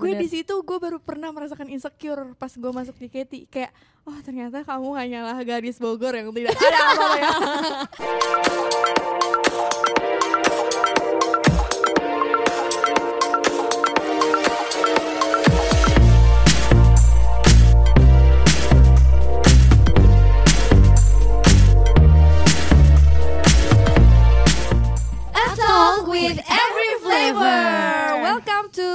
gue di situ gue baru pernah merasakan insecure pas gue masuk JKT kayak oh ternyata kamu hanyalah gadis Bogor yang tidak ada apa ya A talk with every flavor. Welcome to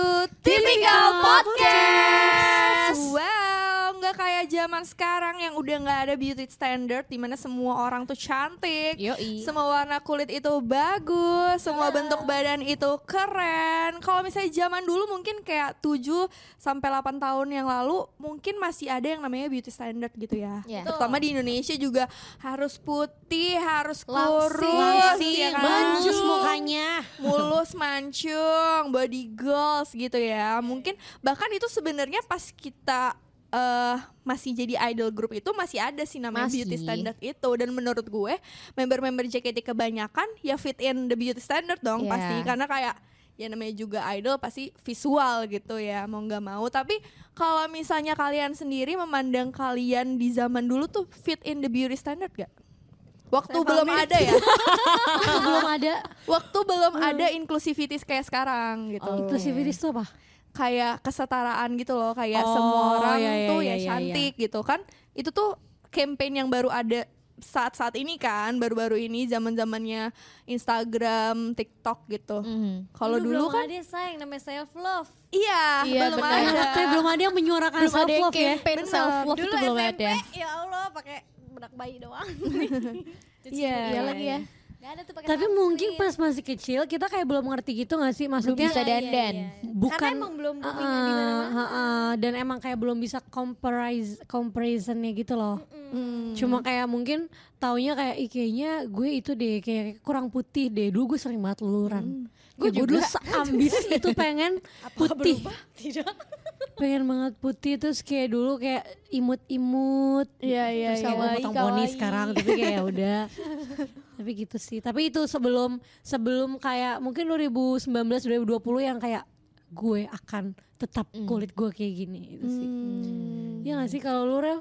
Typical Podcast. Wow, nggak kayak zaman sekarang yang udah nggak ada beauty standard di mana semua orang tuh cantik. Yoi. Semua warna kulit itu bagus, semua bentuk badan itu keren. Kalau misalnya zaman dulu mungkin kayak 7 sampai 8 tahun yang lalu mungkin masih ada yang namanya beauty standard gitu ya. Iya. Terutama di Indonesia juga harus putih, harus kurus, Langsing, ya kan? mancus mukanya. mulus mancung body goals gitu ya mungkin bahkan itu sebenarnya pas kita eh masih jadi idol group itu masih ada sih namanya Masih. beauty standard itu dan menurut gue member-member JKT kebanyakan ya fit in the beauty standard dong Iya. pasti karena kayak ya namanya juga idol pasti visual gitu ya mau nggak mau tapi kalau misalnya kalian sendiri memandang kalian di zaman dulu tuh fit in the beauty standard gak waktu belum ada ya Kan Belum ada. waktu belum ada inclusivities kayak sekarang gitu. Oh, Inclusivities itu apa? Kayak kesetaraan gitu loh, kayak Oh, semua orang iya, iya, tuh iya, ya iya, cantik gitu kan. Itu tuh campaign yang baru ada saat-saat ini kan, baru-baru ini zaman-zamannya Instagram, TikTok gitu. Kalau dulu kan ada sayang namanya self love. iya, belum ada. Teh, belum ada yang menyuarakan belum ada self yang love ya. campaign Bener. self love Dulu itu belum SMP ada. ya Allah pakai bedak bayi doang. Cuci Iya, mulut. iya lagi ya. Nggak ada tuh pakai Tapi sunscreen. mungkin pas masih kecil kita kayak belum ngerti gitu gak sih Belum maksudnya bisa Iya, iya, dandan. iya. bukan Karena emang belum booming di Heeh, mana-mana. heeh. dan emang kayak belum bisa comprise comparisonnya gitu loh. Cuma kayak mungkin taunya kayak "Ih, kayaknya gue itu deh kayak kurang putih deh. Dulu gue sering banget Mm. luluran. Gue gue dulu seambis itu pengen putih. Tidak. Pengen banget putih terus kayak dulu kayak imut-imut. Iya, iya, Terus kayak gue kawaii, potong poni kawaii. sekarang tapi kayak ya udah. tapi gitu sih. Tapi itu sebelum sebelum kayak mungkin 2019 2020 yang kayak gue akan tetap Mm. kulit gue kayak gini itu sih. Hmm. Iya gak sih kalau lu Rel?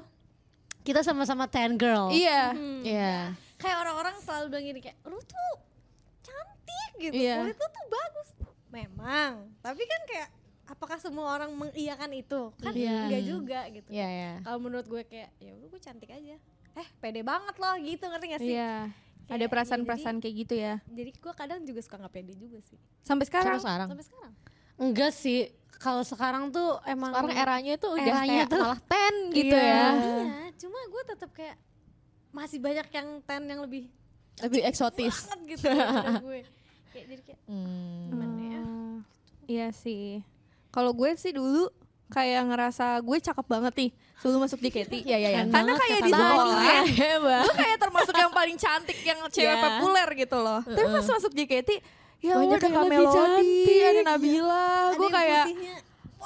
Kita sama-sama tan girl. Iya. Iya. Kayak orang-orang selalu bilang gini kayak lu tuh cantik gitu. Iya. Kulit lu tuh bagus. Memang. Tapi kan kayak apakah semua orang mengiyakan itu? Kan Iya. enggak juga gitu. Iya, iya. Kalau menurut gue kayak ya udah gue cantik aja. Eh, pede banget loh gitu ngerti gak sih? Iya. Ada Kayak, perasaan-perasaan kayak gitu ya. Jadi gue kadang juga suka nggak pede juga sih. Sampai Sekarang sekarang. sekarang. Sampai sekarang. Enggak sih. Kalau sekarang tuh emang Sekarang eranya tuh udah kayak Eranya tuh. malah ten gitu Iya. ya. Iya, cuma gue tetap kayak masih banyak yang ten yang lebih Lebih eksotis. banget gitu daripada gue. Kayak jadi kayak Hmm. gimana ya? Ah, Iya sih. Kalau gue sih dulu kayak ngerasa gue cakep banget nih sebelum masuk JKT. Iya, iya, iya. Karena ya, kayak di Tani, sekolah, hebat. gue kayak termasuk yang paling cantik yang cewek Iya. populer gitu loh. Tapi pas masuk JKT, ya Allah, Banyak ada yang Kak lebih Melody, cantik. Iya. ada Nabila, Ada gue yang kayak putihnya.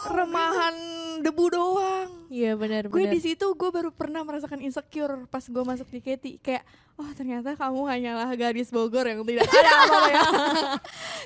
remahan debu doang. Iya benar Gue benar. di situ gue baru pernah merasakan insecure pas gue masuk JKT kayak oh ternyata kamu hanyalah gadis Bogor yang tidak ada apa-apa ya."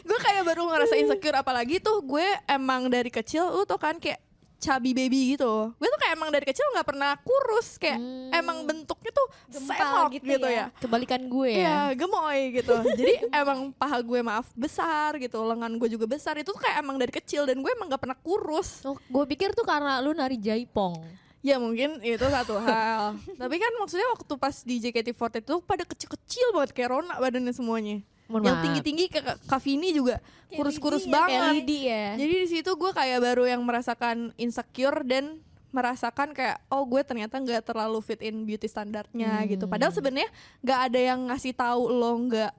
gue kayak baru ngerasa insecure apalagi tuh gue emang dari kecil lu tuh kan kayak chubby baby gitu gue tuh kayak emang dari kecil nggak pernah kurus kayak emang bentuknya tuh Hmm. Gempal semok gitu, gitu ya, ya. Kebalikan gue ya. Iya, gemoy gitu. Jadi emang paha gue maaf besar gitu, lengan gue juga besar. Itu tuh kayak emang dari kecil dan gue emang gak pernah kurus. Oh, gue pikir tuh karena lu nari jaipong. Ya mungkin itu satu hal. Tapi kan maksudnya waktu pas di JKT48 itu pada kecil-kecil banget kayak Rona badannya semuanya. Mohon yang maaf. tinggi-tinggi kayak Kavini juga kurus-kurus Lydia, banget. Kayak Lidi ya. Jadi di situ gue kayak baru yang merasakan insecure dan merasakan kayak oh gue ternyata nggak terlalu fit in beauty standarnya gitu. Padahal sebenarnya nggak ada yang ngasih tahu lo nggak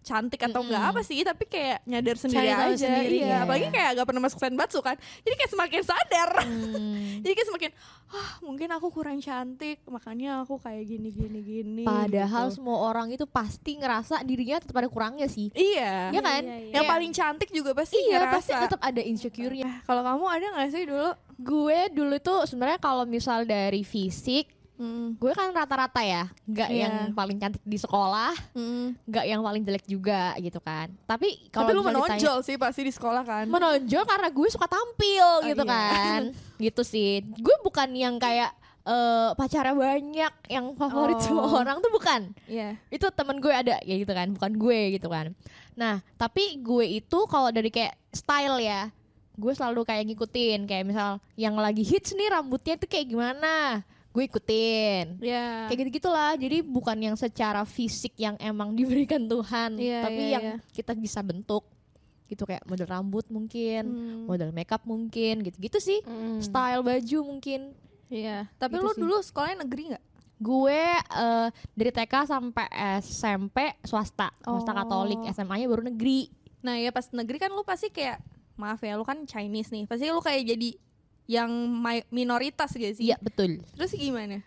cantik atau nggak apa sih tapi kayak nyadar sendiri aja tahu sendiri, iya ya. apalagi kayak gak pernah masuk senbatsu kan jadi kayak semakin sadar Hmm. jadi kayak semakin ah mungkin aku kurang cantik makanya aku kayak gini gini gini Padahal gitu. semua orang itu pasti ngerasa dirinya tetap ada kurangnya sih. iya Iya kan? Iya, iya, yang Kayak- paling cantik juga pasti Iya, ngerasa. Iya. Nah, pasti tetap ada insecure-nya. Eh, kalau kamu ada nggak sih dulu Gue dulu tuh sebenarnya kalau misal dari fisik Mm, Gue kan rata-rata ya, nggak Iya. yang paling cantik di sekolah, mm. nggak yang paling jelek juga gitu kan. Tapi hmm. kalau Tapi lu misalnya ditanya- menonjol sih pasti di sekolah kan. menonjol karena gue suka tampil gitu iya. kan gitu sih gue bukan yang kayak eh, pacarnya banyak yang favorit Oh. semua orang tuh bukan Iya. itu temen gue ada ya gitu kan bukan gue gitu kan nah tapi gue itu kalau dari kayak style ya gue selalu kayak ngikutin kayak misal yang lagi hits nih rambutnya tuh kayak gimana gue ikutin Iya. kayak gitu gitulah jadi bukan yang secara fisik yang emang diberikan Tuhan Iya, tapi iya, yang iya. kita bisa bentuk gitu kayak model rambut mungkin Hmm, model makeup mungkin gitu gitu sih style baju mungkin Iya. Tapi Gitu lu sih. dulu sekolahnya negeri nggak? gue eh, dari TK sampai SMP swasta swasta Oh. Katolik SMA-nya baru negeri Nah ya pas negeri kan lu pasti kayak maaf ya lu kan Chinese nih. Pasti lu kayak jadi yang may- minoritas gitu sih. iya betul Terus gimana?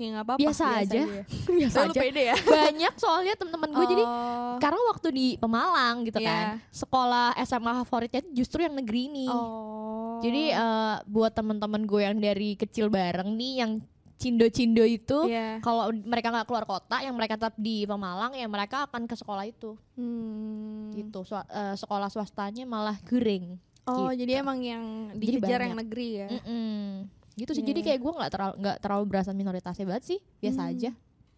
Ya nggak apa-apa. biasa, aja biasa Tapi lu aja pede ya. banyak soalnya teman-teman gue jadi Oh. karena waktu di Pemalang gitu Iya. kan sekolah SMA favoritnya justru yang negeri nih Oh. Jadi eh, buat teman-teman gue yang dari kecil bareng nih yang cindo-cindo itu Iya. kalau mereka nggak keluar kota yang mereka tetap di Pemalang ya mereka akan ke sekolah itu Hmm. gitu Swa- eh, sekolah swastanya malah guring Oh, gitu. jadi emang yang Jadi dikejar banyak. yang negeri ya. Mm-mm. gitu sih Iya, jadi iya. kayak gue nggak terlalu nggak terlalu berasa minoritasnya banget sih biasa Hmm. aja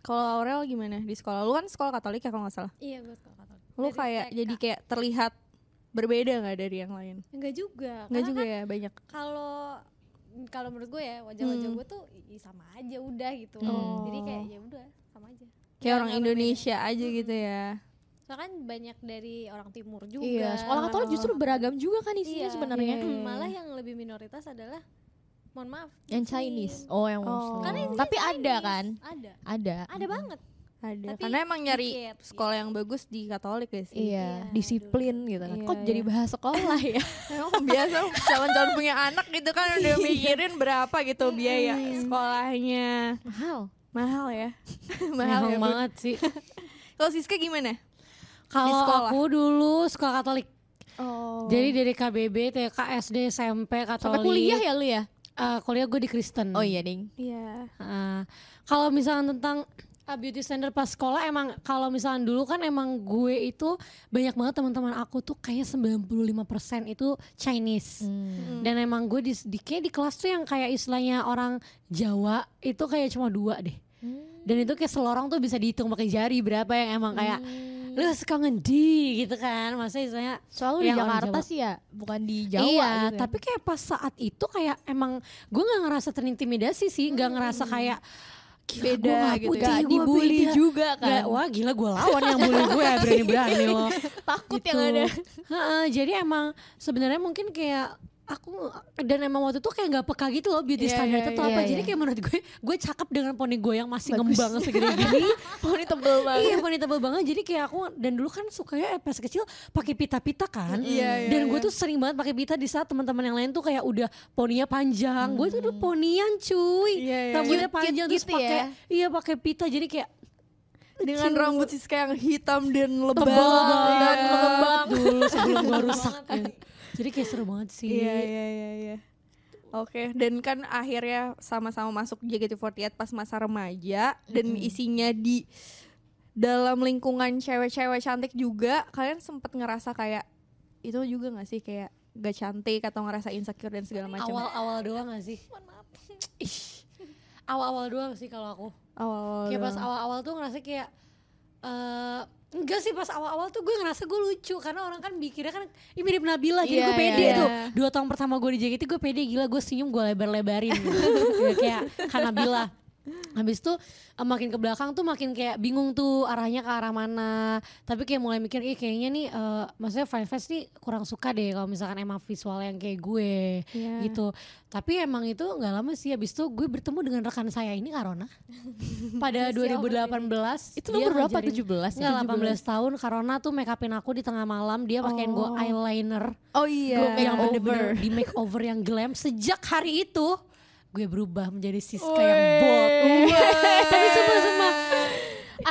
Kalau Aurel gimana di sekolah? Lu kan sekolah Katolik ya kalau nggak salah. Iya gue suka Katolik. Lu Dari kayak TK. jadi kayak terlihat berbeda nggak dari yang lain? enggak juga. Nggak Karena juga kan ya banyak. Kalau kalau menurut gue ya wajah-wajah Hmm. gue tuh i- sama aja udah gitu. Oh. Jadi kayak ya udah sama aja. Kayak orang nggak berbeda. Indonesia aja gitu ya. Soalnya kan banyak dari orang timur juga. iya sekolah Katolik justru beragam juga kan isinya Iya. sebenarnya Iya, iya. malah yang lebih minoritas adalah mohon maaf yang Chinese oh yang Oh. Muslim Karena isinya tapi ada Chinese. kan Ada. ada Ada banget. Ada. Tapi Karena emang nyari dikit, sekolah yang bagus di Katolik ya sih. Iya, Iya, disiplin gitu kan. Kok Iya, jadi iya. bahas sekolah ya? Emang biasa calon-calon punya anak gitu kan udah mikirin berapa gitu biaya sekolahnya. Mahal. Mahal ya. Mahal Mahal ya. Bun. banget sih. Kalau Siska gimana? Kalau sekolah. aku dulu sekolah Katolik. Oh. Jadi dari KBB, TK, SD, SMP Katolik. Sampai kuliah ya lu ya? Eh, kuliah gue di Kristen. Oh iya, Ding. Iya. Eh, kalau misalnya tentang eh, beauty standard pas sekolah emang kalau misalnya dulu kan emang gue itu banyak banget teman-teman aku tuh kayak 95% itu Chinese. Hmm. Dan emang gue di, di kayak di kelas tuh yang kayak istilahnya orang Jawa itu kayak cuma dua deh. Dan itu kayak selorong tuh bisa dihitung pakai jari berapa yang emang kayak lu suka ngendi gitu kan. Maksudnya istilahnya Selalu di Yang orang Jakarta Jawa. sih ya, bukan di Jawa iya, gitu ya. tapi kayak pas saat itu kayak emang gue nggak ngerasa terintimidasi sih, nggak ngerasa kayak gila Beda gua nggak gitu putih, Gak ya. gua dibully beda. juga kan. Nggak, wah gila gue lawan yang bully gue berani-berani loh. Takut Gitu. Heeh, jadi emang sebenarnya mungkin kayak aku dan emang waktu itu kayak nggak peka gitu loh beauty Iya, standar iya, itu iya, apa. iya. Jadi kayak menurut gue gue cakep dengan poni gue yang masih Bagus. ngembang segede gini. Poni tebel banget. Iya poni tebal banget jadi kayak aku dan dulu kan sukanya eh, pas kecil pakai pita-pita kan Iya, iya, dan gue iya. tuh sering banget pakai pita di saat teman-teman yang lain tuh kayak udah poninya panjang gue tuh dulu ponian cuy Iya, Hmm. iya. rambutnya Cute-cute panjang terus gitu pakai ya. iya pakai pita jadi kayak Dengan rambut Siska yang hitam dan lebam. Iya. tebal banget dan mengembang. dulu sebelum gue rusak ya. jadi kayak seru banget sih Iya iya iya iya. Oke, dan kan akhirnya sama-sama masuk JKT48 pas masa remaja dan isinya di dalam lingkungan cewek-cewek cantik juga. Kalian sempet ngerasa kayak itu juga gak sih kayak gak cantik atau ngerasa insecure dan segala macam. awal-awal doang gak sih Mohon maaf. Ih, awal-awal doang sih kalau aku Awal. kayak pas awal-awal tuh ngerasa kayak eh enggak sih pas awal-awal tuh gue ngerasa gue lucu karena orang kan mikirnya kan "Ih, mirip Nabila Iya, jadi gue pede iya, tuh iya. dua tahun pertama gue di JKT gue pede gila gue senyum gue lebar-lebarin gitu. kayak kan Nabila Habis itu eh, makin ke belakang tuh makin kayak bingung tuh arahnya ke arah mana. Tapi kayak mulai mikir, ih kayaknya nih eh, maksudnya Five Fest nih kurang suka deh kalau misalkan emang visual yang kayak gue Iya. gitu. Tapi emang itu nggak lama sih. Habis itu gue bertemu dengan rekan saya ini Karona pada 2018 Itu dia nomor berapa? ya? ngajarin- 17? Enggak, 18 tahun Karona tuh make upin aku di tengah malam dia pakein gue Oh. eyeliner Oh iya. Gue make yang over. bener-bener di makeover yang glam sejak hari itu gue berubah menjadi Siska Wih. yang bold tapi sumpah sumpah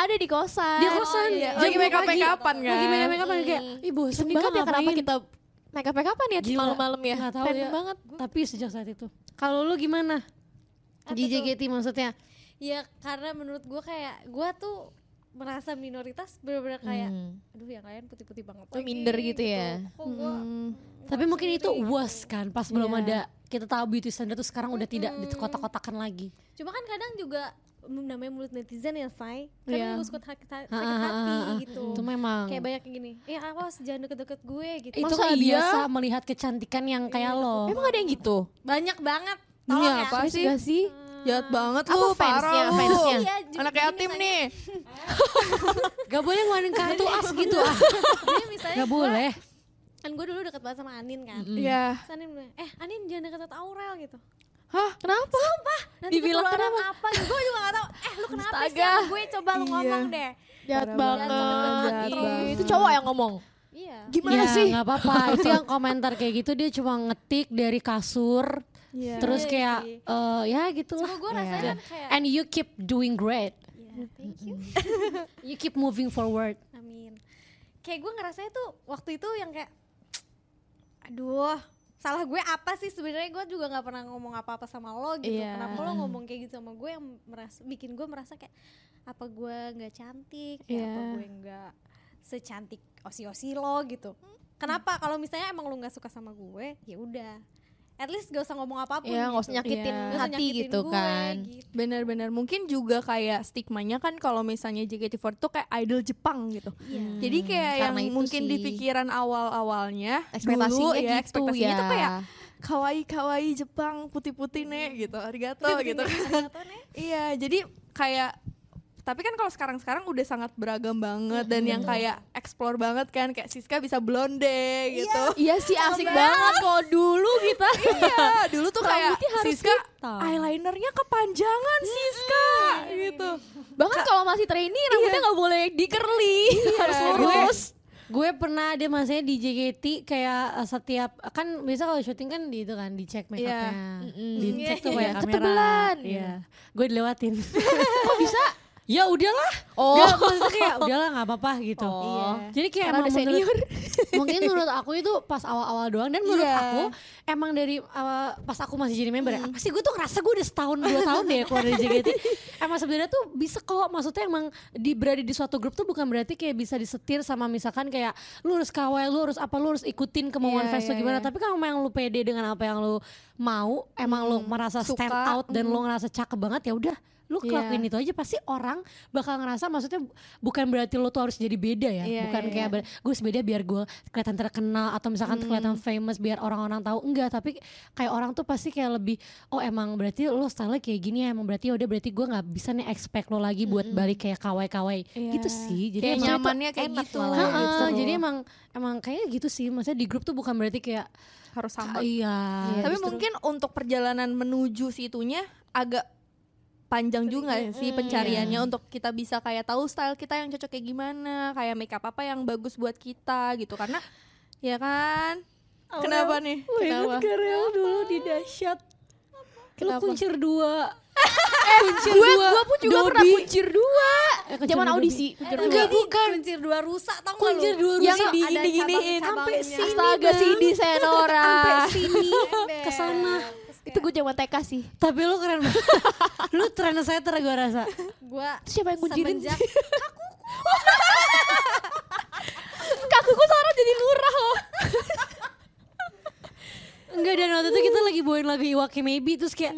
Ada di kosan. Oh, dia kosan iya. jam Lagi make up- pagi. make upan kan? lagi make up make upan kayak ih bosen Seneng nih banget ya kenapa Iya. ngapain?" kita make up make upan ya Gila. malam-malam ya. Nggak tahu Pengen ya. banget. tapi sejak saat itu kalau lu gimana di JKT maksudnya ya karena menurut gue kayak gue tuh merasa minoritas bener-bener kayak Hmm. aduh yang lain putih-putih banget Lu minder gitu ya? kok gua Tapi mungkin itu worse kan pas belum Iya. ada kita tahu beauty standard tuh sekarang udah tidak dikotak-kotakan lagi. cuma kan kadang juga mm, namanya mulut netizen ya Fai kadang Iya. gue suka sakit, sakit Ah, ah, hati ah, ah. gitu Itu memang kayak banyak yang gini ya awas jangan deket-deket gue gitu itu Masa kan iya? biasa melihat kecantikan yang kayak lo. Emang ada yang gitu? banyak banget Iya, tolong Dunia ya apa sih? Gak sih? Jahat banget Apa lu, fansnya, parah lu. fansnya? Iya, juga Anak gini yatim misalnya. nih. Gak boleh ngeluarin kartu as gitu ah. Jadi misalnya Gak gua- boleh. kan gue dulu deket banget sama Anin kan Hmm. Iya. Terus Anin bilang, eh Anin jangan deket Aurel gitu Hah? Kenapa? nanti Dibilang ketularan apa gue juga gak tau eh lu kenapa sih Astaga. sama gue coba lu Iya. ngomong deh Jahat Parah banget. banget. Ih, Jahat banget. Itu cowok yang ngomong. iya Gimana ya, sih? nggak apa-apa. itu yang komentar kayak gitu dia cuma ngetik dari kasur. Iya. Terus Iya kayak sih. eh, ya gitu cuma lah. gue rasanya Iya. kan kayak And you keep doing great. Iya, thank you You keep moving forward. Amin. Kayak gue ngerasanya tuh waktu itu yang kayak, aduh, salah gue apa sih sebenarnya gue juga nggak pernah ngomong apa-apa sama lo gitu. Iya. Kenapa lo ngomong kayak gitu sama gue yang merasa, bikin gue merasa kayak apa gue nggak cantik, ya apa Iya. gue nggak secantik osi-osi lo gitu. Kenapa kalau misalnya emang lo nggak suka sama gue, ya udah. At least gak usah ngomong apapun. Ya nggak usah gitu. Iya. nyakitin Nggak usah hati nyakitin gitu gue, kan. gitu. Benar-benar mungkin juga kayak stigmanya kan kalau misalnya JKT48 tuh kayak idol Jepang gitu. Jadi kayak Iya. Hmm. karena yang itu mungkin sih. di pikiran awal-awalnya dulu Ekspektasinya ya gitu ekspektasinya ya. tuh kayak kawaii kawaii Jepang putih-putih nih gitu arigato gitu kan iya jadi kayak tapi kan kalau sekarang-sekarang udah sangat beragam banget Iya, dan yang kayak explore banget kan kayak Siska bisa blonde gitu Iya sih asik banget kalau dulu gitu." kita. iya dulu tuh kayak Rambutnya harus Siska hitam. eyelinernya kepanjangan Siska gitu Bahkan kalau masih trainee rambutnya nggak boleh di curly, harus lurus. Gue pernah ada masanya di JKT kayak eh, setiap kan biasa kalau syuting kan di itu kan dicek make Iya. upnya, Mm-mm. dicek tuh Iya, iya. kayak kamera. Ketebelan. Iya, gue dilewatin. Kok bisa? ya udahlah. Oh. Gak, maksudnya kayak udahlah nggak apa-apa gitu. Oh. Iya. Jadi kayak Karena emang udah menurut- senior. mungkin menurut aku itu pas awal-awal doang dan menurut Iya. aku emang dari uh, pas aku masih jadi member ya, pasti gue tuh ngerasa gue udah setahun dua tahun deh keluar dari JKT emang sebenarnya tuh bisa kok maksudnya emang di berada di suatu grup tuh bukan berarti kayak bisa disetir sama misalkan kayak lu harus kawal lu harus apa lu harus ikutin kemauan Iya, fans iya, lu gimana iya. tapi kalau emang lu pede dengan apa yang lu mau emang lu merasa suka, stand out dan lu ngerasa cakep banget ya udah lu Iya. kelakuin itu aja pasti orang bakal ngerasa maksudnya bukan berarti lu tuh harus jadi beda ya Iya, bukan iya, Hmm. kayak ber- gue harus beda biar gue kelihatan terkenal atau misalkan kelihatan famous biar orang-orang tahu enggak tapi kayak orang tuh pasti kayak lebih oh emang berarti lo style kayak gini ya emang berarti udah berarti gue nggak bisa nih expect lo lagi buat balik kayak kawai-kawai Hmm. Iya. gitu sih jadi kayak emang itu nyamannya kayak enak gitu, malah. Ha-ha, gitu. jadi emang emang kayaknya gitu sih maksudnya di grup tuh bukan berarti kayak harus sama ah, iya Tapi justru- mungkin untuk perjalanan menuju situnya agak panjang juga sih pencariannya untuk kita bisa kayak tahu style kita yang cocok kayak gimana, kayak makeup apa yang bagus buat kita gitu karena ya kan. Kenapa nih? Lu Kenapa? ingat gak Rel dulu di dahsyat lu Kenapa? kuncir dua Gue gue pun juga pernah Dobi. kuncir dua. Eh, kuncir Zaman dua audisi. Eh, Kuncir lu dua. ini Kuncir dua rusak tau gak lu? Kuncir dua Yang rusak. di ada gini-giniin. cabang-cabangnya. Sampai sini, Astaga Bang. si Senora. sini Ke sana. Ah. Itu gue zaman TK sih. Tapi lu keren banget. lu trendsetter gue rasa. gue Terus siapa yang kuncirin? semenjak Kakuku sekarang jadi lurah loh. Enggak dan waktu itu kita lagi bawain lagu Iwaki Maybe terus kayak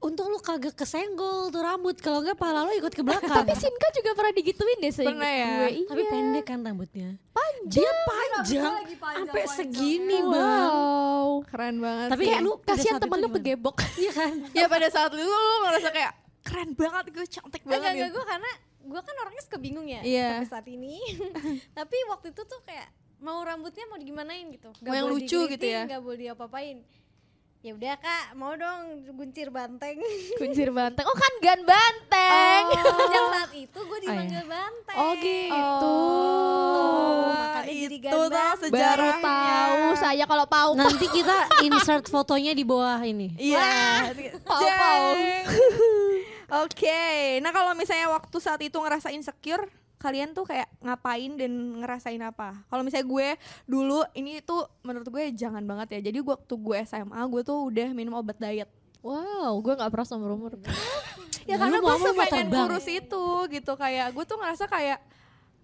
untung lu kagak kesenggol tuh rambut kalau enggak pala lu ikut ke belakang. Tapi Sinka juga pernah digituin deh seingat Pernah ya? gue. Iya. Tapi pendek kan rambutnya. Panjang. Dia panjang. Lagi panjang, Sampai panjang. segini, Bang. Wow. Keren banget. Tapi sih. kayak lu pada Kasihan saat itu temen lu gimana? kegebok. Iya kan? ya pada saat itu lu ngerasa kayak keren banget gue cantik banget enggak enggak gitu. gue karena gue kan orangnya suka bingung ya Iya. sampai saat ini tapi waktu itu tuh kayak mau rambutnya mau digimanain gitu Mau yang lucu gitu ya? nggak boleh diapa-apain ya udah kak mau dong guncir banteng Kuncir banteng. Oh kan gan banteng. yang saat itu gue dipanggil banteng Oh Oh, gitu. makanya jadi itu gambar. tuh Baru sejarahnya. tahu saya kalau pau. Nanti kita insert fotonya di bawah ini. Iya. Pau, Jeng. pau. Oke. Nah, kalau misalnya waktu saat itu ngerasa insecure, kalian tuh kayak ngapain dan ngerasain apa? Kalau misalnya gue dulu ini tuh menurut gue jangan banget ya. Jadi waktu gue SMA, gue tuh udah minum obat diet. Wow, gue gak pernah seumur umur. ya Nah, karena lu gue mama mau sepengen terbang. kurus itu gitu kayak gue tuh ngerasa kayak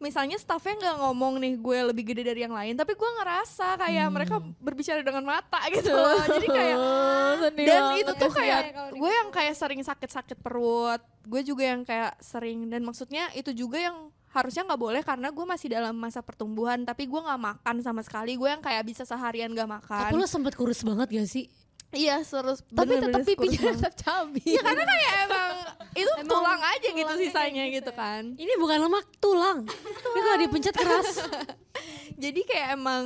misalnya staffnya nggak ngomong nih gue lebih gede dari yang lain tapi gue ngerasa kayak Hmm. mereka berbicara dengan mata gitu loh jadi kayak Oh, dan itu tuh kayak kalau di- gue yang kayak sering sakit-sakit perut gue juga yang kayak sering dan maksudnya itu juga yang harusnya nggak boleh karena gue masih dalam masa pertumbuhan tapi gue nggak makan sama sekali gue yang kayak bisa seharian gak makan Tapi lu sempet kurus banget gak sih? iya terus tapi bener-bener tetap kurus pipinya banget. tetap cabi ya karena kayak emang itu Emang tulang aja gitu tulangnya sisanya kayak gitu, gitu ya. kan Ini bukan lemak, tulang. Ini kalau dipencet keras. jadi kayak emang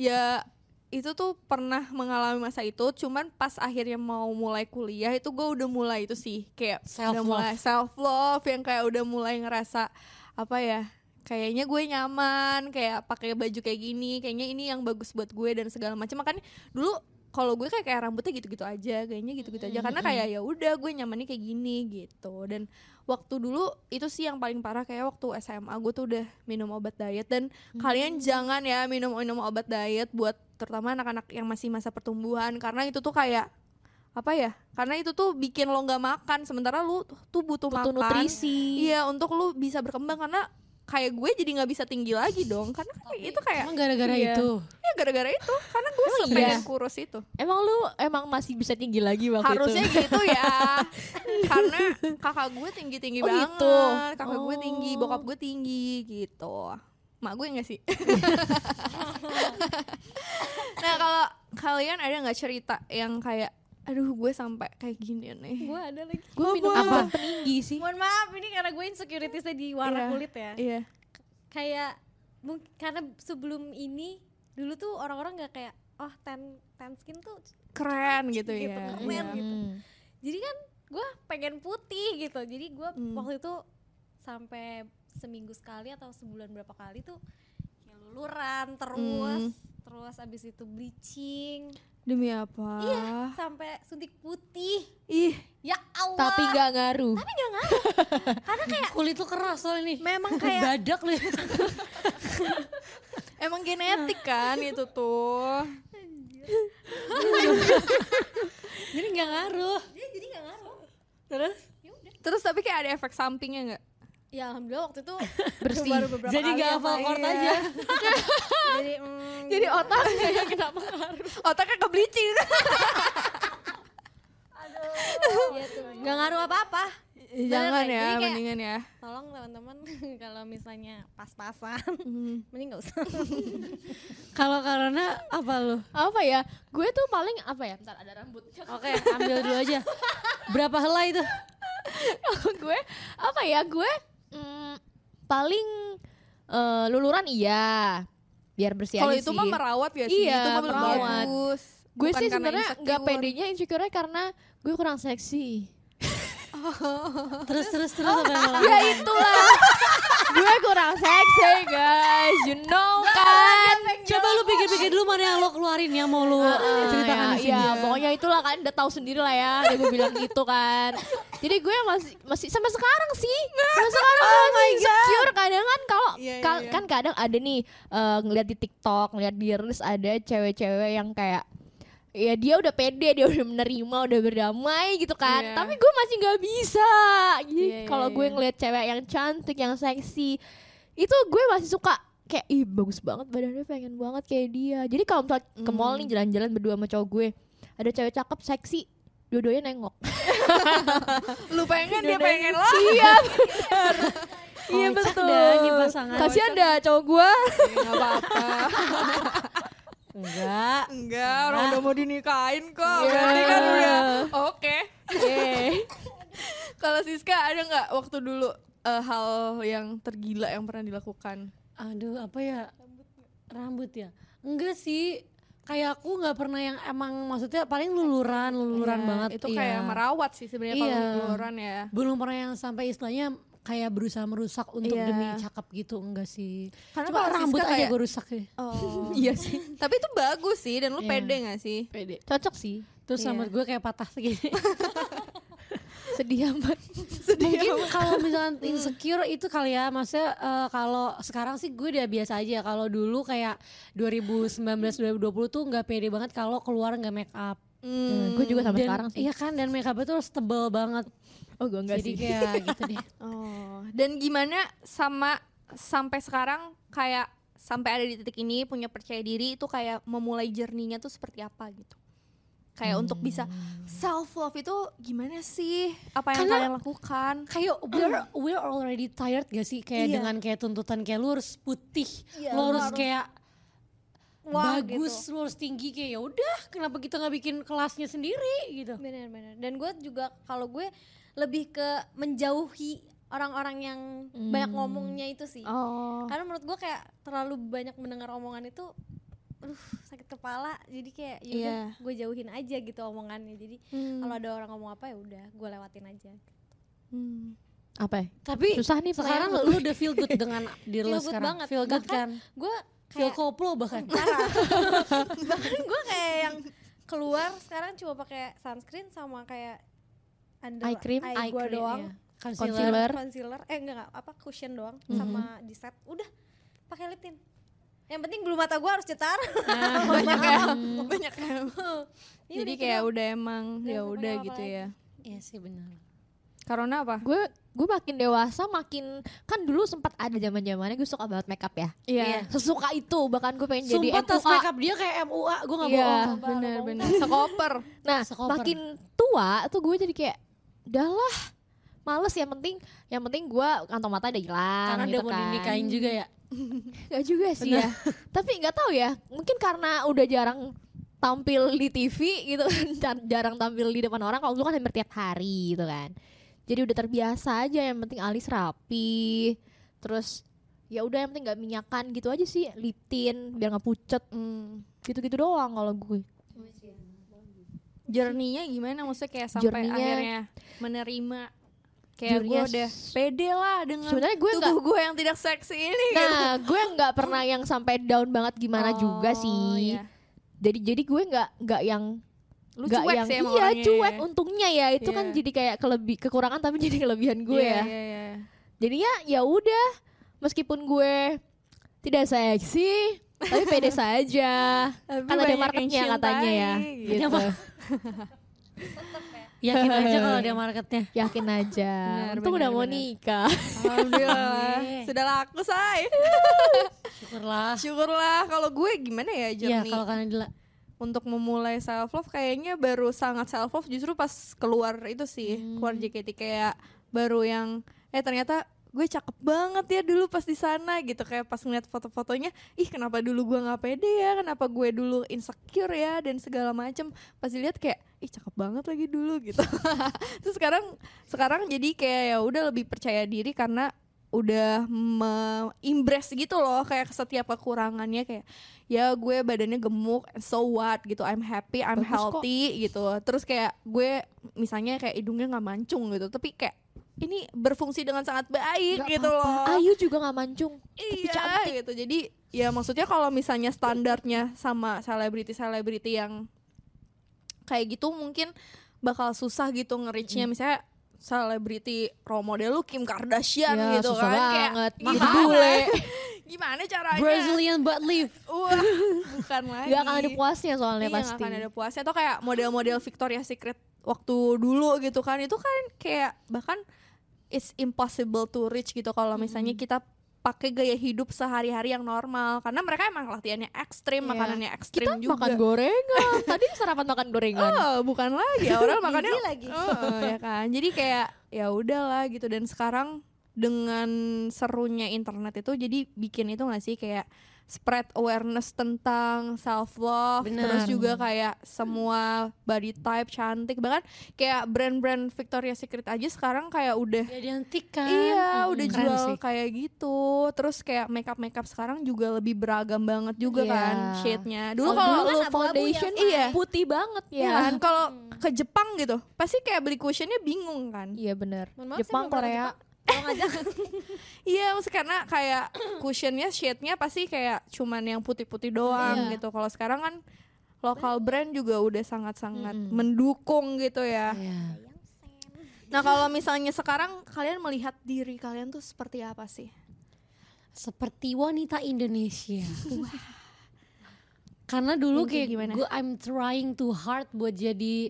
ya itu tuh pernah mengalami masa itu cuman pas akhirnya mau mulai kuliah itu gue udah mulai itu sih kayak Self udah love. mulai self love yang kayak udah mulai ngerasa apa ya kayaknya gue nyaman kayak pakai baju kayak gini kayaknya ini yang bagus buat gue dan segala macam makanya dulu kalau gue kayak kayak rambutnya gitu-gitu aja kayaknya gitu-gitu aja karena kayak ya udah gue nyamannya kayak gini gitu dan waktu dulu itu sih yang paling parah kayak waktu SMA gue tuh udah minum obat diet dan Mm. kalian jangan ya minum minum obat diet buat terutama anak-anak yang masih masa pertumbuhan karena itu tuh kayak apa ya karena itu tuh bikin lo nggak makan sementara lu tuh butuh, makan butuh nutrisi iya untuk lu bisa berkembang karena kayak gue jadi nggak bisa tinggi lagi dong karena kan itu kayak Emang gara-gara Iya. itu. ya gara-gara itu karena gue Emang sepengen iya? kurus itu emang lu emang masih bisa tinggi lagi waktu harusnya itu gitu ya karena kakak gue tinggi tinggi Oh, banget gitu. kakak gue tinggi Oh. bokap gue tinggi gitu mak gue nggak sih nah kalau kalian ada nggak cerita yang kayak aduh gue sampai kayak gini nih Gue ada lagi. gue minum Apa? obat peninggi sih Mohon maaf ini karena gue insecuritiesnya di warna Iya. kulit ya. iya Kayak mung- karena sebelum ini dulu tuh orang-orang nggak kayak oh tan tan skin tuh keren gitu, Gitu, ya keren Iya. gitu. Hmm. jadi kan gue pengen putih gitu jadi gue Hmm. waktu itu sampai seminggu sekali atau sebulan berapa kali tuh ya Hmm. luluran terus terus abis itu bleaching demi apa Iya. sampai suntik putih ih ya Allah tapi nggak ngaruh Kulit lu keras soal ini. memang kayak Badak lu. emang genetik kan itu tuh Jadi gak ngaruh. jadi jadi nggak ngaruh terus terus tapi kayak ada efek sampingnya nggak ya alhamdulillah waktu itu Bersih. baru beberapa Jadi kali iya. gak yang hafal main. kort aja. jadi mm, jadi otaknya yang kena pengaruh otaknya ke bleaching gitu. nggak ngaruh apa-apa Iya, Jangan ya, deh, jadi kayak- mendingan ya. tolong teman-teman kalau misalnya pas-pasan mending nggak usah Kalau karena apa lu? apa ya gue tuh paling apa ya bentar ada rambutnya Oke, ambil dulu aja. Berapa helai itu? Kalau gue apa ya gue mm, paling eh, luluran iya biar bersih Kalau aja itu sih. mah merawat ya sih, Iya, itu mah belum merawat. bagus. gue Bukan karena sih sebenarnya nggak insecure. pedenya insecure karena gue kurang seksi Terus terus terus sampai Nah, malam. ya itulah gue kurang seksi guys you know kan Coba lu pikir-pikir dulu mana yang lu keluarin yang mau lu eh, Ah, ceritakan ya, di sini. ya, pokoknya itulah kan udah tahu sendiri lah ya udah gue bilang gitu kan jadi gue masih masih sampai sekarang sih sampai sekarang gue masih insecure kadang kan kalau Oh Iya, iya, kal- iya. kan kadang ada nih eh, ngeliat di TikTok ngeliat di reels ada cewek-cewek yang kayak ya dia udah pede dia udah menerima udah berdamai gitu kan Iya. tapi gue masih nggak bisa Jadi Iya, iya, kalau gue iya. ngeliat cewek yang cantik yang seksi itu gue masih suka kayak ih bagus banget badannya pengen banget kayak dia jadi kalau misalnya ke mall Hmm. nih jalan-jalan berdua sama cowok gue ada cewek cakep seksi dua-duanya nengok lu pengen dia pengen lo. iya Iya betul. pasangan. kasihan dah cowok gue Enggak apa-apa. Enggak. Enggak, orang Nah. udah mau dinikahin kok. Iya. Berarti kan udah oke. Iya. Kalau Siska ada nggak waktu dulu eh, hal yang tergila yang pernah dilakukan? Aduh, apa ya? Rambut ya? Enggak sih. Kayak aku nggak pernah yang emang maksudnya paling luluran, luluran Iya, banget. Itu iya. kayak merawat sih sebenarnya kalau Iya. keluaran ya. Belum pernah yang sampai istilahnya kayak berusaha merusak untuk Iya. demi cakep gitu enggak sih. Karena Cuma kalau Siska rambut aja kayak- gue rusak ya. Oh. iya sih. Tapi itu bagus sih dan lu Iya. pede nggak sih? pede cocok sih Terus Iya. rambut gue kayak patah segini. sedih ya. amat mungkin kalau misalkan insecure itu kali ya maksudnya eh, kalau sekarang sih gue udah biasa aja kalau dulu kayak 2019 2020 tuh nggak pede banget kalau keluar nggak make up Hmm. gue Nah, juga sama dan sekarang sih iya kan dan make up itu harus tebel banget oh gue enggak Jadi sih kayak gitu deh. Oh, dan gimana sama sampai sekarang kayak sampai ada di titik ini punya percaya diri itu kayak memulai jerninya tuh seperti apa gitu? Kayak untuk bisa self love itu gimana sih? Apa yang Karena- kalian lakukan? Kayak we're we're already tired gak sih kayak Iya. dengan kayak tuntutan kayak lu harus putih, Iya, lu lu harus harus kayak Wah, bagus, gitu. lu harus tinggi kayak ya udah kenapa kita nggak bikin kelasnya sendiri gitu. Bener-bener. Dan gue juga kalau gue lebih ke menjauhi orang-orang yang Hmm. banyak ngomongnya itu sih. Oh. Karena menurut gue kayak terlalu banyak mendengar omongan itu, aduh sakit kepala. Jadi kayak ya Iya. Hmm. gue jauhin aja gitu omongannya. Jadi kalau ada orang ngomong apa ya udah gue lewatin aja. apa ya? Tapi susah nih sekarang pertanyaan. lu udah feel good dengan diri Feel lu good sekarang. banget. Feel good Bahkan kan? Gue Feel kayak koplo bahkan. parah. Bahkan gue kayak yang keluar sekarang cuma pakai sunscreen sama kayak under Eye cream, eye, Eye gua cream, doang. iya. Concealer. Concealer. concealer eh enggak enggak apa cushion doang sama di set udah pakai lip tint yang penting bulu mata gue harus cetar Nah, Banyak ya, banyak ya. Iya, Jadi udah itu kayak doang. udah emang Nggak ya usah udah pakai gitu apa ya. Iya sih benar. Karena apa? gue gue makin dewasa makin kan dulu sempat ada zaman zamannya gue suka banget makeup ya Iya. sesuka itu bahkan gue pengen jadi Sumpah tas MUA. makeup dia kayak MUA, gue gak Iya. bohong. Bener-bener sekoper. nah Sekoper. makin tua tuh gue jadi kayak udahlah males yang penting yang penting gue kantong mata udah hilang Karena gitu udah mau kan. dinikahin juga ya. Gak juga sih ya. Tapi nggak tahu ya. Mungkin karena udah jarang tampil di TV gitu kan, jar- jarang tampil di depan orang. Kalau dulu kan hampir tiap hari gitu kan. Jadi udah terbiasa aja. Yang penting alis rapi. Terus ya udah yang penting nggak minyakan gitu aja sih. Lip tint biar nggak pucet. Hmm, Gitu-gitu doang kalau gue. Jerninya gimana maksudnya kayak sampai Journey-nya- akhirnya menerima kayak gue Journey-nya udah s- pede lah Nah, dengan Sebenarnya gue tubuh gue yang tidak seksi ini Nah, gitu. gue nggak pernah yang sampai down banget gimana juga sih. iya. Jadi jadi gue nggak nggak yang lu Nggak cuek yang, sih emang iya orangnya cuek ya. untungnya ya itu kan Iya. jadi kayak kelebih kekurangan tapi jadi kelebihan gue Iya, ya iya, iya. jadinya ya udah meskipun gue tidak seksi tapi pede saja Tapi kan ada banyak yang marketnya katanya ya cintai, gitu. gitu. Yakin aja kalau ada marketnya. yakin aja Benar, untung benar, udah mau benar. nikah alhamdulillah Iya. sudah laku say Syukurlah. syukurlah kalau gue gimana ya Iya journey kalau kan adalah untuk memulai self love kayaknya baru sangat self love justru pas keluar itu sih keluar Hmm. JKT kayak baru yang eh ternyata gue cakep banget ya dulu pas di sana gitu kayak pas ngeliat foto-fotonya ih kenapa dulu gue nggak pede ya kenapa gue dulu insecure ya dan segala macem pas dilihat kayak ih cakep banget lagi dulu gitu terus sekarang sekarang jadi kayak ya udah lebih percaya diri karena udah impress gitu loh kayak setiap kekurangannya kayak ya gue badannya gemuk so what gitu I'm happy I'm Bagus kok. healthy gitu terus kayak gue misalnya kayak hidungnya nggak mancung gitu tapi kayak ini berfungsi dengan sangat baik Nggak gitu apa-apa. loh Ayu juga nggak mancung tapi iya cantik gitu jadi ya maksudnya kalau misalnya standarnya sama selebriti selebriti yang kayak gitu mungkin bakal susah gitu nge-reach-nya Hmm. misalnya selebriti role model lu Kim Kardashian Ya, gitu susah kan banget. kayak kan. Mahal. gimana, gimana caranya Brazilian butt lift. Wah, bukan lagi nggak akan ada puasnya soalnya Iya, nggak pasti akan ada puasnya atau kayak model-model Victoria's Secret waktu dulu gitu kan itu kan kayak bahkan it's impossible to reach gitu kalau misalnya kita pakai gaya hidup sehari-hari yang normal karena mereka emang latihannya ekstrim Iya. makanannya ekstrim kita juga makan gorengan tadi sarapan makan gorengan Oh, bukan lagi orang makannya Gizi lagi. Oh, ya kan. Jadi kayak ya udahlah gitu dan sekarang dengan serunya internet itu jadi bikin itu gak sih kayak spread awareness tentang self love Benar. terus juga kayak semua body type cantik bahkan kayak brand-brand Victoria's Secret aja sekarang kayak udah Ya diantikan. Iya, Mm-mm. udah Keren jual sih. kayak gitu. Terus kayak makeup makeup sekarang juga lebih beragam banget juga Iya. kan shade-nya. Dulu Kalau kalau dulu lu kan abu-abu foundation ya, Mai. iya, putih banget ya Iya kan kalau ke Jepang gitu pasti kayak beli cushionnya bingung kan iya bener Mohon maaf, saya Jepang belum pernah Korea Jepang. kalau ngajak iya maksudnya karena kayak cushionnya shade-nya pasti kayak cuman yang putih-putih doang Iya. gitu kalau sekarang kan lokal brand juga udah sangat-sangat Mm-mm. mendukung gitu ya Iya. nah kalau misalnya sekarang kalian melihat diri kalian tuh seperti apa sih Seperti wanita Indonesia. Karena Yang dulu kayak kayak gimana? gue I'm trying too hard buat jadi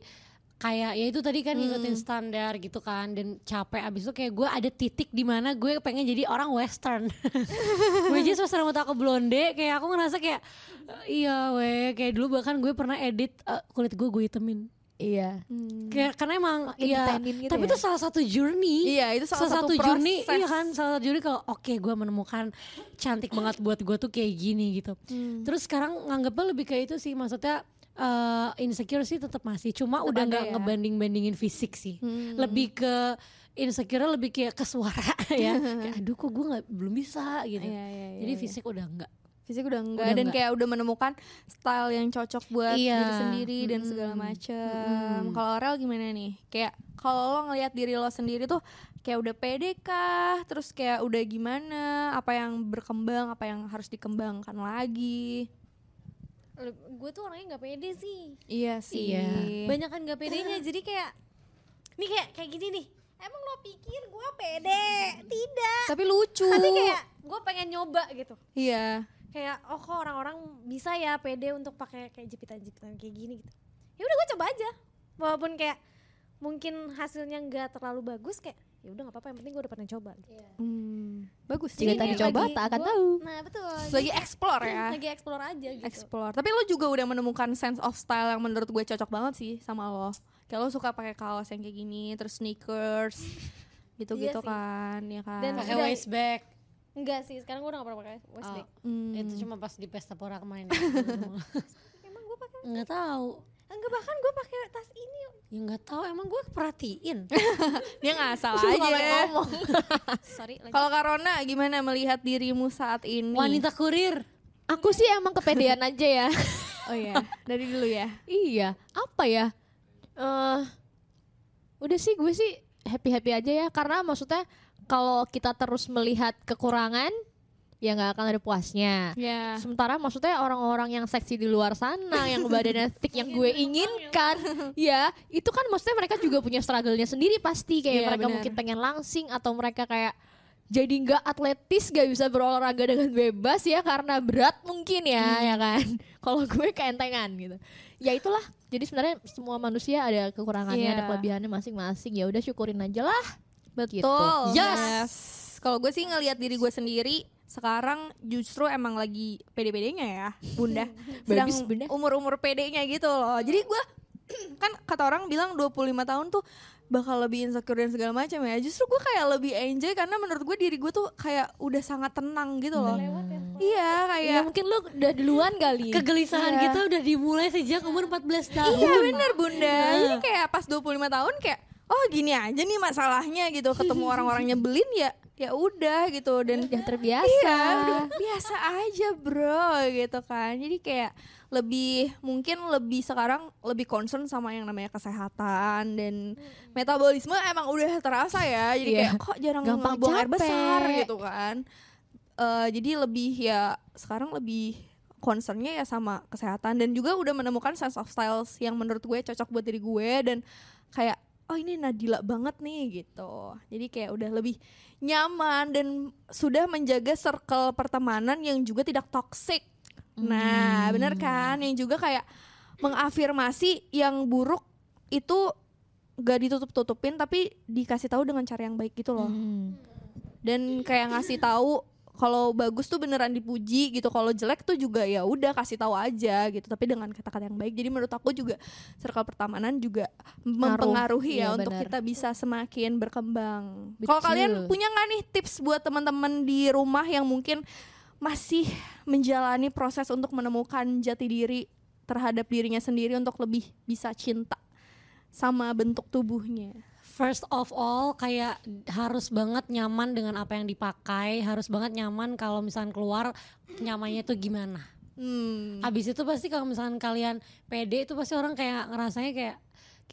kayak ya itu tadi kan Hmm. ngikutin standar gitu kan dan capek abis itu kayak gue ada titik di mana gue pengen jadi orang western gue aja western rambut aku blonde kayak aku ngerasa kayak "Eh, iya weh kayak dulu bahkan gue pernah edit eh, kulit gue gue hitemin Iya. Hmm. kayak karena emang iya ditenin gitu tapi ya? itu salah satu journey Iya, itu salah satu journey proses. iya kan salah satu journey kalau oke gue menemukan cantik banget buat gue tuh kayak gini gitu Hmm. terus sekarang nganggepnya lebih kayak itu sih maksudnya eh, insecure sih tetap masih cuma udah ada nggak ya. ngebanding bandingin fisik sih Hmm. lebih ke insecure lebih kayak ke suara ya kayak aduh kok gue nggak belum bisa gitu Iya, iya, iya, jadi iya. fisik udah nggak fisik udah enggak Udah dan enggak. kayak udah menemukan style yang cocok buat Iya. diri sendiri dan segala macem. Kalau Rel gimana nih? Kayak kalau lo ngelihat diri lo sendiri tuh kayak udah pede kah? Terus kayak udah gimana? Apa yang berkembang? Apa yang harus dikembangkan lagi? gue tuh orangnya nggak pede sih Iya sih. Iya. banyak kan nggak pedenya jadi kayak nih kayak kayak gini nih emang lo pikir gue pede tidak Tapi lucu. tapi kayak gue pengen nyoba gitu Iya. kayak oh kok orang-orang bisa ya pede untuk pakai kayak jepitan-jepitan kayak gini gitu ya udah gue coba aja walaupun kayak mungkin hasilnya nggak terlalu bagus kayak ya udah nggak apa-apa yang penting gue udah pernah coba gitu. Hmm, bagus Jika sih. Jadi tak kayak dicoba, lagi tak akan gua- tahu. nah betul Lagi explore ya. lagi explore aja gitu Explore. Tapi lo juga udah menemukan sense of style yang menurut gue cocok banget sih sama lo. Kayak lo suka pakai kaos yang kayak gini, terus sneakers, gitu-gitu Iya sih. kan, ya kan. Dan- pakai Udah. waist bag enggak sih sekarang gue udah nggak pernah pakai waist Oh, bag Hmm. itu cuma pas di pesta pora kemarin emang gue pakai nggak tahu enggak bahkan gue pakai tas ini ya nggak tahu emang gue perhatiin dia nggak salah Suka aja. ya. banget ngomong. sorry lanjut. Kalau Karona gimana melihat dirimu saat ini? wanita kurir Aku sih emang kepedean aja ya. Oh iya, dari dulu ya. iya. Apa ya? Eh, udah sih gue sih happy happy aja ya. Karena maksudnya kalau kita terus melihat kekurangan, ya nggak akan ada puasnya. Ya. Sementara maksudnya orang-orang yang seksi di luar sana, yang badannya thick yang Iya, gue inginkan, ya itu kan maksudnya mereka juga punya struggle-nya sendiri pasti Iya, kayak mereka benar. mungkin pengen langsing atau mereka kayak jadi nggak atletis, gak bisa berolahraga dengan bebas ya karena berat mungkin ya, Hmm. ya kan. Kalau gue keentengan gitu. Ya itulah. Jadi sebenarnya semua manusia ada kekurangannya, Iya. ada kelebihannya masing-masing. Ya udah syukurin aja lah. Gitu. Betul. Betul. Yes. Kalau gue sih ngelihat diri gue sendiri sekarang justru emang lagi pede-pedenya ya, Bunda. Sedang Babis, Bunda. umur-umur pedenya gitu loh. Jadi gue kan kata orang bilang 25 tahun tuh bakal lebih insecure dan segala macam ya. Justru gue kayak lebih enjoy karena menurut gue diri gue tuh kayak udah sangat tenang gitu loh. lewat ya Iya, kayak Ya mungkin lu udah duluan kali. kegelisahan kita udah dimulai sejak umur 14 tahun. Iya bener bunda Jadi kayak pas 25 tahun kayak Oh gini aja nih masalahnya gitu Ketemu orang-orang nyebelin ya ya udah gitu Dan udah terbiasa. Iya, udah biasa aja bro gitu kan. Jadi kayak lebih mungkin lebih sekarang lebih concern sama yang namanya kesehatan dan metabolisme emang udah terasa ya. Jadi Iya. kayak kok jarang Gampang buang air capek. besar gitu kan. Eh, jadi lebih ya sekarang lebih concernnya ya sama kesehatan dan juga udah menemukan sense of styles yang menurut gue cocok buat diri gue dan kayak oh ini Nadila banget nih gitu. Jadi kayak udah lebih nyaman dan sudah menjaga circle pertemanan yang juga tidak toksik. Nah, bener kan? Yang juga kayak mengafirmasi yang buruk itu gak ditutup-tutupin tapi dikasih tahu dengan cara yang baik gitu loh. Hmm. Dan kayak ngasih tahu kalau bagus tuh beneran dipuji gitu, kalau jelek tuh juga ya udah kasih tahu aja gitu, tapi dengan kata-kata yang baik. Jadi menurut aku juga circle pertemanan juga mempengaruhi ya Iya, untuk benar. iya. kita bisa semakin berkembang. Betul. Kalau kalian punya nggak nih tips buat teman-teman di rumah yang mungkin masih menjalani proses untuk menemukan jati diri terhadap dirinya sendiri untuk lebih bisa cinta sama bentuk tubuhnya. First of all kayak harus banget nyaman dengan apa yang dipakai, harus banget nyaman kalau misalkan keluar nyamannya tuh gimana. Hmm. Abis itu pasti kalau misalkan kalian pede itu pasti orang kayak ngerasanya kayak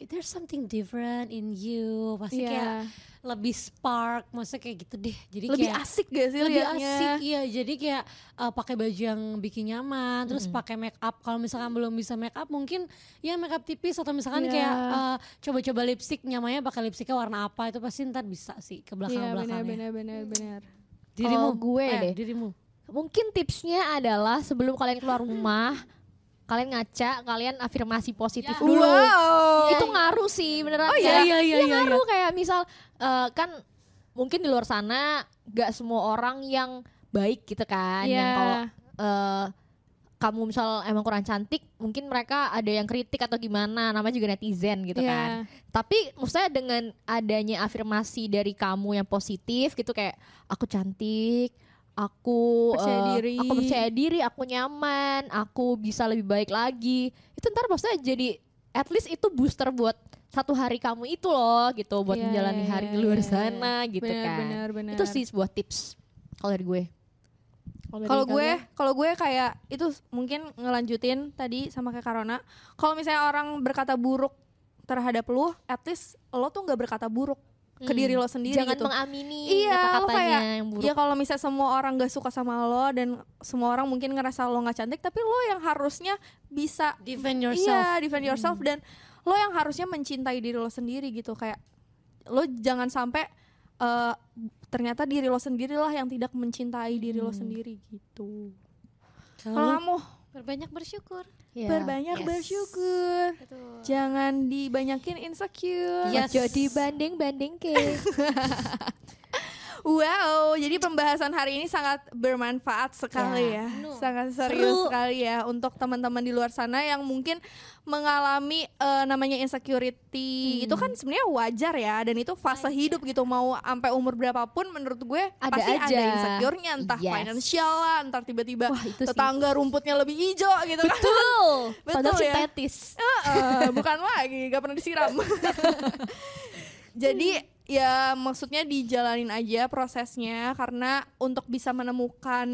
there's something different in you, pasti Iya. kayak lebih spark, maksudnya kayak gitu deh. Jadi Lebih gitu. kayak, asik gak sih lebih liatnya? asik iya jadi kayak uh, pakai baju yang bikin nyaman terus pakai make up kalau misalkan belum bisa make up mungkin ya make up tipis atau misalkan Iya. kayak uh, coba-coba lipstick nyamanya pakai lipstiknya warna apa itu pasti ntar bisa sih ke Iya ya. benar belakang-belakangnya benar benar benar. dirimu Kalau gue eh, deh. dirimu Mungkin tipsnya adalah sebelum kalian keluar rumah, kalian ngaca kalian afirmasi positif Wow. dulu itu ngaruh sih beneran Oh, iya, Kayak- iya, iya, iya, ngaruh kayak misal eh, kan mungkin di luar sana nggak semua orang yang baik gitu kan yang Iya. kalau eh, kamu misal emang kurang cantik mungkin mereka ada yang kritik atau gimana namanya juga netizen Iya. gitu kan tapi maksudnya dengan adanya afirmasi dari kamu yang positif gitu kayak aku cantik, aku Percaya eh, diri. aku percaya diri, aku nyaman, aku bisa lebih baik lagi. Itu ntar maksudnya jadi at least itu booster buat satu hari kamu itu loh gitu buat Iya, menjalani iya, hari iya, di luar iya. sana gitu benar, kan. benar, benar. Itu sih sebuah tips kalau dari gue. dari Kalau gue, kalian? kalau gue kayak itu s- mungkin ngelanjutin tadi sama kayak Karona. Kalau misalnya orang berkata buruk terhadap lu, at least lo tuh nggak berkata buruk ke Hmm. diri lo sendiri jangan gitu. mengamini Iya, lo kata-katanya kayak, yang buruk. Ya kalau misalnya semua orang gak suka sama lo dan semua orang mungkin ngerasa lo nggak cantik, tapi lo yang harusnya bisa Defend Iya, defend yourself dan lo yang harusnya mencintai diri lo sendiri gitu kayak lo jangan sampai eh, ternyata diri lo sendirilah yang tidak mencintai diri lo sendiri gitu. Kalau Kalau kamu Berbanyak bersyukur. Iya. berbanyak Yes. bersyukur, Betul. jangan dibanyakin insecure. Yes. Ojo dibanding-banding ke. Wow, jadi pembahasan hari ini sangat bermanfaat sekali Ya, ya, no. sangat serius Seru. sekali ya untuk teman-teman di luar sana yang mungkin mengalami eh, namanya insecurity. Itu kan sebenarnya wajar ya, dan itu fase hidup gitu. Mau sampai umur berapapun, menurut gue Ada pasti ada aja. insecure-nya, entah Yes. financial lah, entah tiba-tiba itu sih. tetangga rumputnya lebih hijau gitu kan. Betul. Betul Padahal ya. sintetis. Eh, bukan lagi, gak pernah disiram. Jadi ya maksudnya dijalanin aja prosesnya karena untuk bisa menemukan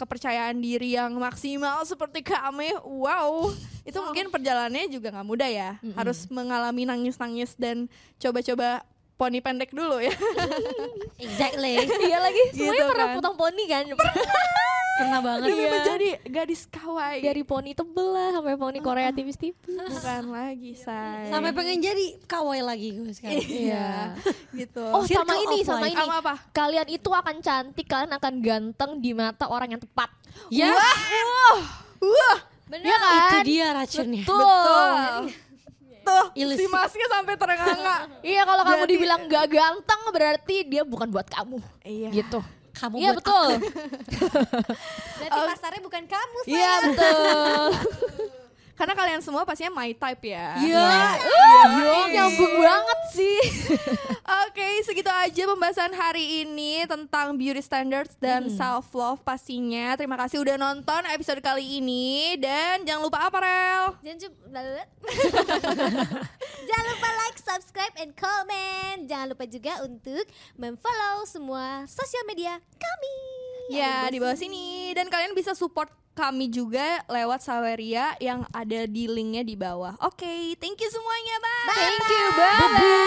kepercayaan diri yang maksimal seperti kami, wow, itu mungkin perjalanannya juga nggak mudah ya. Harus mengalami nangis-nangis dan coba-coba poni pendek dulu ya. exactly Iya lagi, semuanya Gitu pernah kan. potong poni kan. pernah banget Demi ya. menjadi Iya. gadis kawai. Dari poni tebel lah sampai poni Korea tipis-tipis. bukan lagi, say. Sampai pengen jadi kawai lagi gue sekarang. Iya, gitu. Oh, Circle sama ini, of sama life. ini. Sama apa? Kalian itu akan cantik, kalian akan ganteng di mata orang yang tepat. Ya. Yes. Wah, Benar Iya kan? Itu kan? dia racunnya. Betul. Betul. Iya, Tuh, si Ilusi. masnya sampai terengah-engah. Iya, kalau kamu Berarti- dibilang gak ganteng berarti dia bukan buat kamu. Iya. Gitu. Kamu Iya, buat betul. Berarti pasarnya bukan kamu, Sa. Iya, betul. Karena kalian semua pastinya my type ya. Iya. Iya. Uh, Nyambung banget sih. Oke, segitu aja pembahasan hari ini tentang beauty standards dan self love pastinya. Terima kasih udah nonton episode kali ini dan jangan lupa apa Rel? Jangan ju- lalat. Jangan lupa like, subscribe, and comment. Jangan lupa juga untuk memfollow semua sosial media kami. Ya, di bawah sini dan kalian bisa support kami juga lewat Saweria yang ada di linknya di bawah. Oke, thank you semuanya, bye. Thank you, bye.